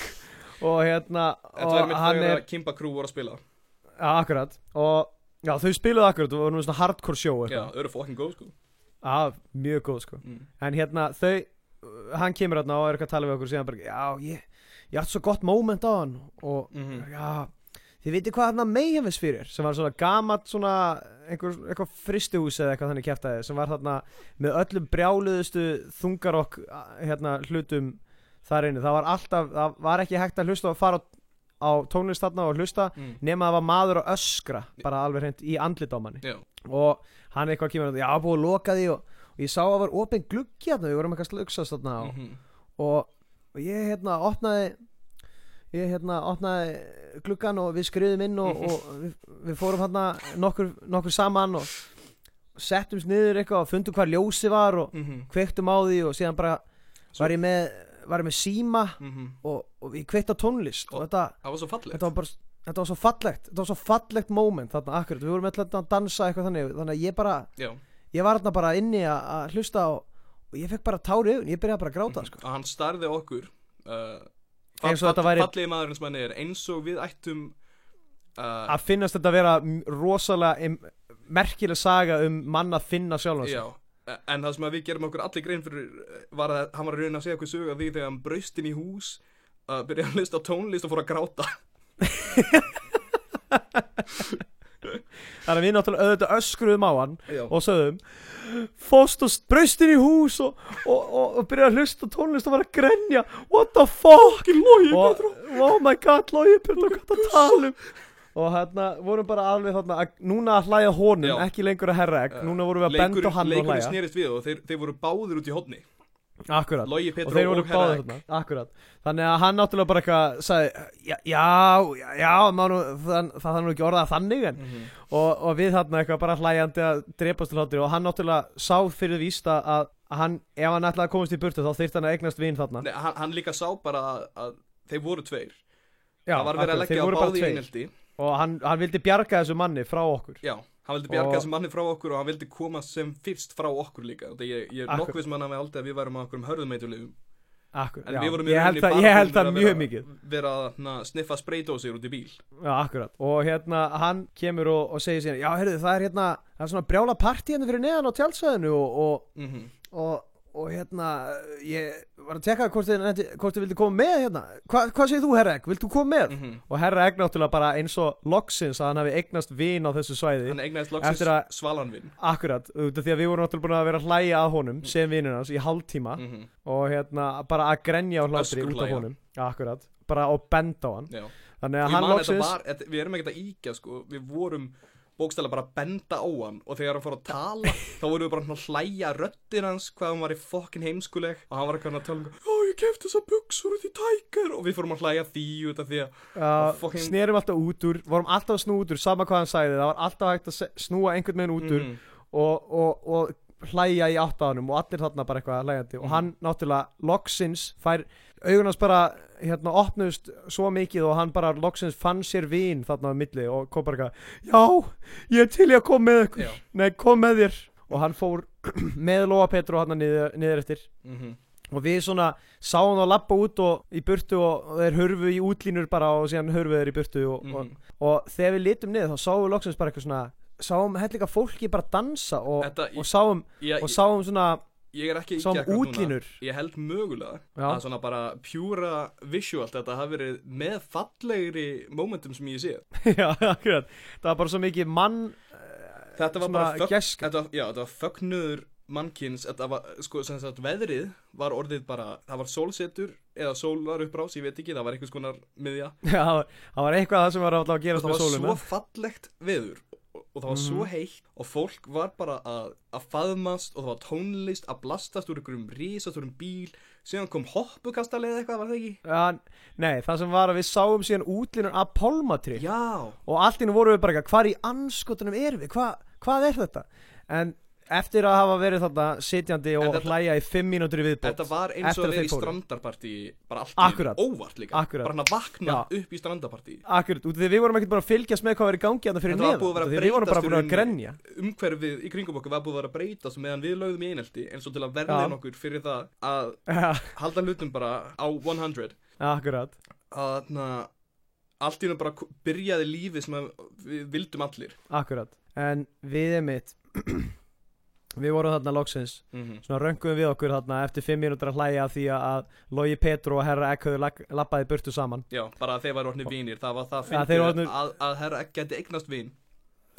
og hérna
Þetta var
og
mitt
hann
þegar
er,
að Kimba Crew voru að spila
ja, akkurat og já, þau spiluðu akkurat og voru nú svona hardcore show
Já,
eitthvað,
þau eru fucking góð sko
já, mjög góð sko
mm.
en hérna þau uh, hann kemur hérna og er eitthvað að tala við okkur og síðan bara já ég, ég átt svo gott moment á hann og
Mhm.
já þið veitir hvað hann meihefis fyrir sem var svona gamat svona einhver, eitthvað fristihús eða eitthvað þannig kjæftæði sem var þarna með öllum brjáluðustu þungarokk a- hérna hlutum þar inni það var alltaf það var ekki hægt að hlusta og fara á, á tónlist þarna og hlusta
Mm.
nema það var maður að öskra bara alveg hreint í andlit á manni
Já,
og hann eitthvað kemur já, búið að loka því og, og ég sá að var opinn gluggi hérna, við vorum eitthvað að slugsast þarna og,
mhm.
og, og ég hérna opnaði ég hérna opnaði gluggan og við skriðum inn og, og við, við fórum hérna nokkur, nokkur saman og settumst niður eitthvað og fundum hvað ljósi var og
Mhm,
kveiktum á því og síðan bara var ég með, var ég með síma
mhm.
og, og ég kveikt á tónlist og þetta,
Það var svo fallegt
þetta var bara Þetta var svo fallegt, þetta var svo fallegt moment þarna akkurat, við vorum alltaf að dansa eitthvað þannig þannig að ég bara,
Já,
ég var þarna bara inni að- að hlusta og, og ég fekk bara tári augun, ég byrjaði bara að gráta sko.
og hann starði á okkur uh,
Eins og þetta væri-
Fallegi maðurinn sem hann er Eins og við ættum uh,
að finnast þetta vera m- rosalega im, merkileg saga um mann að finna sjálfan sig
Já En það sem að við gerum okkur allir grein fyrir eh, var að hann var að reyna að segja okkur sög að því þegar hann braust inn í hús að byrja að lista á tónlist og fór að gráta
þannig að við náttúrulega auðvitað öskruðum á hann
Já,
og sögðum fóst og braustin í hús og, og, og, og byrjaði að hlusta á tónlist og var að grenja what the fuck
Logi
og, oh my god, logi Pétur hvað það talum um? og hérna vorum bara alveg þarna að, núna að hlæja honum,
Já.
ekki lengur að herra ekki, núna vorum við að
leikur,
benda á hann og
Leikurinn
hlæja
snerist við og þeir, þeir voru báðir út í hodni
akkurat
Logi
og
Petro
þeir voru
Herra
báðið
Egg.
þarna, akkurat þannig að hann náttúrulega bara eitthvað sagði, já, já, já, já má nú, þann, það þarf nú ekki orðað þannig en
Mhm.
og, og við þarna eitthvað bara hlæjandi að drepast til hlátur og hann náttúrulega sá fyrir vísta að að hann, ef hann ætlaði að komast í burtu þá þyrfti hann að eignast vin þarna
Nei, hann, hann líka sá bara að, að þeir voru tveir
já,
Það var verið að
akkurat,
leggja
þeir
á
voru bara
báði í
tveir.
einhelti
og hann, hann vildi bjarga þessu manni frá okkur
Já, hann vildi bjarga
Og-
þessum manni frá okkur og hann vildi koma sem fyrst frá okkur líka Þegar ég, ég er
Akkur-
nokkuð sem hann hafi aldrei að við værum á okkur um hörðumeiturlegum
Akkur,
En
já,
við vorum í
ég held það,
rauninni bara
ég held
búnir
það
að
mjög
vera-
mikið
Vera að na, sniffa spreydósir út í bíl
Já, akkurat Og hérna, hann kemur og, og segir síðan Já, heyrðu, það er hérna, það er svona brjála partí hérna fyrir neðan á tjálsæðinu og, og,
mm
og, og hérna ég var að tekka hvort þið, nennti- hvort þið vildi koma með hérna Hva, hvað segir þú herra Egg, vildu koma með
Mhm.
og herra Egg náttúrulega bara eins og loksins að hann hafi eignast vin á þessu svæði
Hann eignaðist loksins
Eftir að-
Svalanvin
akkurat, út af því að við vorum náttúrulega búin að vera að hlæja að
Mhm.
honum sem vinur hans í hálftíma
mm -hmm.
og hérna bara að grenja á hlátri út af
Öskurhlæja.
honum, akkurat bara og benda á hann,
Já
þannig
Ég
að hann
man þetta
loksins
var, þetta, við erum ekkert að íkja sko, við vorum bókstæla bara að benda á hann og þegar hann fór að
[laughs]
tala þá vorum við bara svona að hlæja röddin hans hvað hann var í fokkin heimskuleg og hann var eitthvað að tala um já ég kefti þessa buksur út í tækar og við fórum að hlæja því út af því að
Uh,
fucking-
snerum alltaf út úr, vorum alltaf að snúa út úr sama hvað hann sagði, það var alltaf hægt að se- snúa einhvern veginn út úr
Mhm.
og, og, og hlæja í áttaðanum og allir þarna bara eitthvað hlæjandi og hann náttúrulega loksins fær augunars bara hérna opnust svo mikið og hann bara loksins fann sér vín þarna á milli og kom bara eitthvað já, ég er til í að koma með ykkur
Já.
nei, kom með þér og hann fór [clears throat] með Lóa Petru hann niður, niður eftir
mhm,
og við svona sáum það að lappa út og í burtu og og þeir hörfu í útlínur bara og síðan hörfu þeir í burtu og,
mhm.
og, og þegar við litum niður þá sáum við loksins bara eitthvað svona sáum hellinga fólki bara dansa og,
Þetta í-
og sáum,
Ég,
og sáum svona [laughs]
ég, ég er ekki að
sáum
ýkja akkurat
útlínur.
núna. ég held mögulega
Já.
að svona bara pjúra visual þetta hafi verið með fallegri momentum sem ég sé
já, akkurat, það var bara svo mikið mann [laughs]
þetta var
Svona
bara þögn,
gæska.
þetta, var- já, þetta var þögnuður mannkins þetta var, sko, sem sagt, veðrið var orðið bara, það var sólsetur eða sólar upprás, ég veit ekki, það var einhvers konar miðja,
já, það var- það var eitthvað það sem var alltaf að
og
gerast
það
með Mhm.
var svo
sóluna
fallegt veður og, og það var svo heitt og fólk var bara að, að faðmast og það var tónlist að blastast úr einhverjum risastórum bíl síðan kom hoppukastalið eitthvað, var það ekki?
Já, nei, það sem var að við sáum síðan útlínur af pálmatri
Já,
og allt inni vorum við bara eitthvað, hvar í anskotunum erum við, Hva, hvað er þetta? En eftir að hafa verið þarna sitjandi og
þetta-
hlæja í fimm mínútur í viðbót
þetta var eins
eftir
og að vera
þeir
í
fóru.
strandarpartí bara allt
Akkurat.
í einu, óvart líka
Akkurat.
bara hann að vakna upp í strandarpartí
Akkurat, út af því við vorum ekkert bara að fylgjast með hvað var í gangi hann fyrir
Þetta var
neðan,
búið að
út af
vera
því við vorum bara
breytast
búin
í
að grenja [laughs]
umhverfið í kringum okkur var búið að vera að breytast meðan við lögðum í einelti eins og til að verða
Já.
okkur fyrir það að
Ja,
halda hlutum bara á 100
Akkurat,
að na, allt í hennu bara k- byrjaði lífið sem að við vildum allir
akkurat En við er mitt [clears throat] Við vorum þarna loksins Svona rönguðum við okkur þarna eftir fimm mínútur að hlæja af því að Logi Petru og Herra Ekk höfðu lag- labbaði í burtu saman
Já, bara að þeir væru orðni vinir, það var það
Ja,
fyndið
þeir eru orðnir-
að, að herra ekki geti eignast vin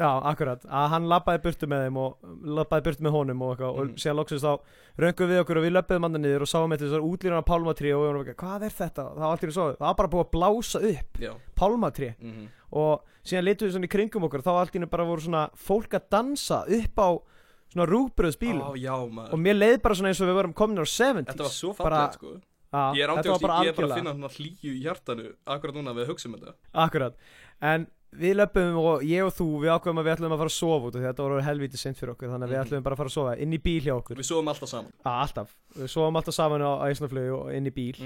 Já, akkurat, að hann labbaði burtu með þeim og labbaði burtu með honum og eitthvað
Mhm.
og síðan loksins þá röngum við okkur og við löpum manna niður og sáum eitthvað þessar útlýruna pálmatri og við varum ekki, hvað er þetta? Það var allir í svo, það var bara búið að blása upp
Já,
pálmatri
mm -hmm.
og síðan litum við svona í kringum okkur og þá allt í henni bara voru svona fólk að dansa upp á svona rúbröðsbílum
já maður
og mér leið bara svona eins og við varum komin á 70s
Þetta var svo
bara-
fallegt sko
Já,
Ég er
þetta var
ándjóks,
bara
ég er bara að
algjörlega.
finna svona hlýju í hjartanu Akkurat núna við hugsa um þetta
Akkurat, en við löpum og ég og þú, við ákveðum að við ætlum að fara að sofa út og þetta voru helvítið sent fyrir okkur þannig að við
Mhm.
ætlum bara að fara að sofa inn í bíl hjá okkur
Við sofum alltaf saman
Já, alltaf, við sofum alltaf saman á æsnaflögu og inn í bíl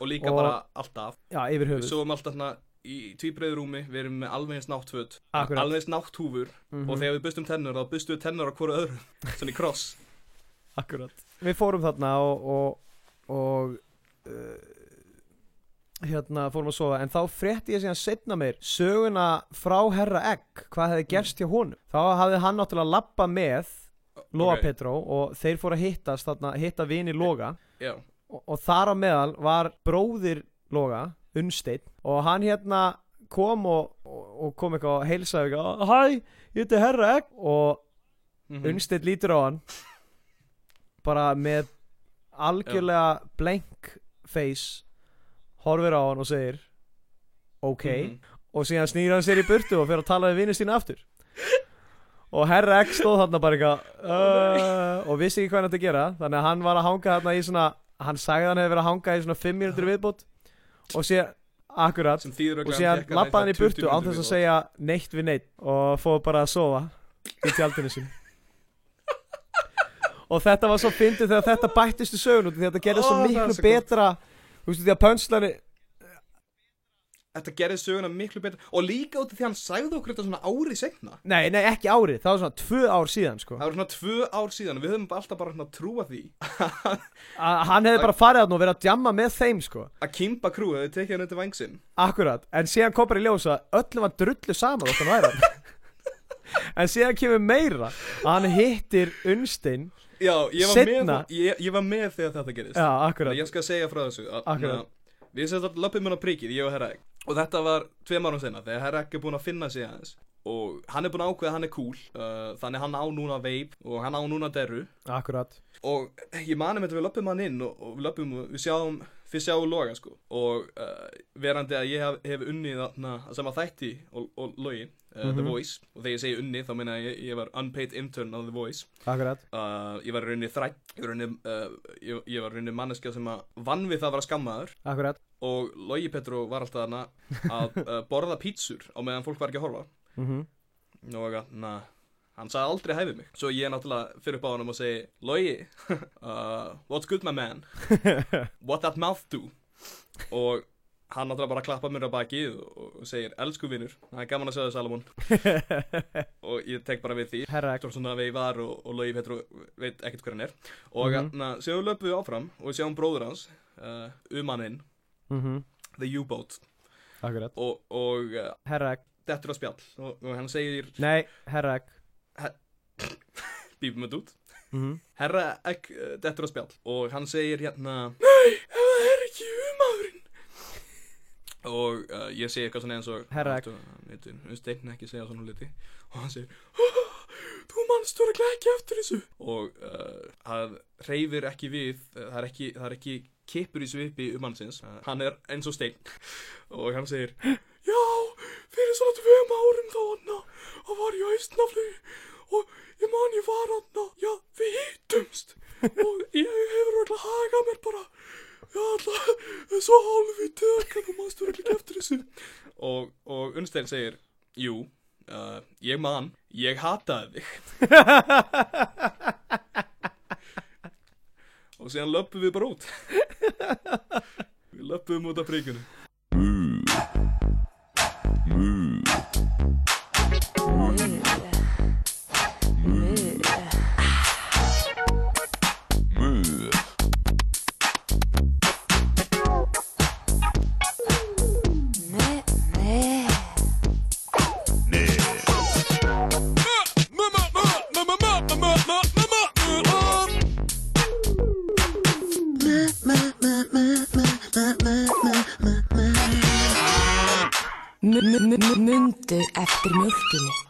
Og líka
Og-
bara alltaf
Já, yfir
Mm. Við
höfuð
sofum alltaf svona í tvíbreiður rúmi Við erum með alveg eins náttföt
Akkurat.
Alveg eins nátthúfur
Mhm.
Og þegar við bustum tennur þá bustum við tennur á hverju öðru Svona í kross
Akkurat Við fórum þarna og og, og uh, hérna fórum að sofa en þá frétti ég síðan setna mér söguna frá herra egg hvað hefði gerst hjá honum þá hafði hann náttúrulega lappa með Loa
Ok,
Petró og þeir fóru að hittast þarna hitta vini Loga
Já,
og, og þar á meðal var bróðir Loga Unnsteinn og hann hérna kom og, og, og kom eitthvað og heilsaði eitthvað Hæ, ég heiti herra egg og
Mhm.
Unnstedt lítur á hann bara með algjörlega blank face horfir á hann og segir ok
Mhm.
og síðan snýr hann sér í burtu og fyrir að tala við vinnu sína aftur og herra X stóð þarna bara eitthvað uh, og vissi ekki hvað hann ætti að gera þannig að hann var að hanga þarna í svona hann sagði að hann hefði verið að hanga í svona 5 mínútur í viðbót og síðan akkurat
Sem þýður
og síðan lappaði hann í burtu án þess að segja neitt við neitt og fóð bara að sofa í tjaldinu sín og þetta var svo fyndið þegar þetta bættist í sögun út af því að þetta gerði
Ó,
svo
það er
miklu
svo gott.
betra þú veist því að pönslari
Þetta gerði söguna miklu betur Og líka út af því að hann sagði okkur þetta svona árið segna
nei, nei, ekki árið, það var svona tvö ár síðan sko.
Það var svona tvö ár síðan og Við höfum alltaf bara svona trúa því
að hann hefði bara farið að og verið að djamma með þeim sko.
Að Kimba Crew hefði tekið hann undir vangsinn
Akkurat, en síðan kom bara í ljósa öllum var drullu saman þótt hann væri hann en síðan kemur meira að hann hittir Unnstein
Já, ég var, með,
Seinna.
ég, ég var með þegar þetta gerist
já, akkurat,
Þannig að ég skal segja frá þessu að,
Akkurat.
na, Við sem þetta löpum hann á prikið, ég og Herra Egg Og þetta var tveim árum senna Þegar Herra Egg er búin að finna sig aðeins Og hann er búin að ákveða að hann er cool uh, Þannig hann á núna veip Og hann á núna derru
akkurat
Og ég manum þetta við löpum hann inn Og, og við löpum, við sjáum Fyrst sjáum loga sko Og uh, verandi að ég hef, hef unnið na, Sem að þætti og, og logi uh, The Voice Og þegar ég segi unnið þá meina ég, ég ég var unpaid intern á The Voice
akkurat,
uh, ég var í rauninni þrætt ég var í rauninni, uh, ég, ég var í rauninni manneska sem að vann við það að vera skammaður
akkurat
og Logi Petró var alltaf þarna að uh, borða pítsur á meðan fólk var ekki að horfa
mhm
og að, na, hann sagði aldrei hæfið mig svo ég náttúrulega fyrir upp á hann og segi Logi, [laughs] uh, what's good my man what that mouth do og hann náttúrulega bara klappa mér á bakið og og segir elsku vinnur, það er gaman að sjá þau Salomon og ég tek bara við því
Herra ekki
Hector svona veifar og, og Logi Petru veit ekkert hver hann er og
Mhm.
mm -hmm. séu löpum við áfram og við sjáum bróður hans uh, umanninn,
mm -hmm.
the U-boat
Akkurat
og, og uh,
Herra ekki
dettur á spjall og, og hann segir
Nei, herra ekki
bípum þetta út
mm -hmm.
herra ekki uh, dettur á spjall og hann segir hérna nei, ef það er ekki umaðurinn og uh, ég segi eitthvað svona eins og
Herra Egg.
ekki steinn ekki segja svona liti og hann segir "Ah, þú manst þú ekki eftir þessu og uh, hann reyfir ekki við uh, það er ekki, það er ekki kippur í svipi um hansins uh, hann er eins og steinn og hann segir já, fyrir svona tveim árum þá hann og var ég á eistnafli og ég man ég var hann já, við hittumst og ég hefur alltaf hagað mér bara já, alltaf svo hálfvítið að þú manst þú ekki eftir þessu og, og Unnstein segir jú, uh, ég man ég hataði þig og síðan löpum við bara út við löpum út af príkinu
Mundu eftir mjölkinni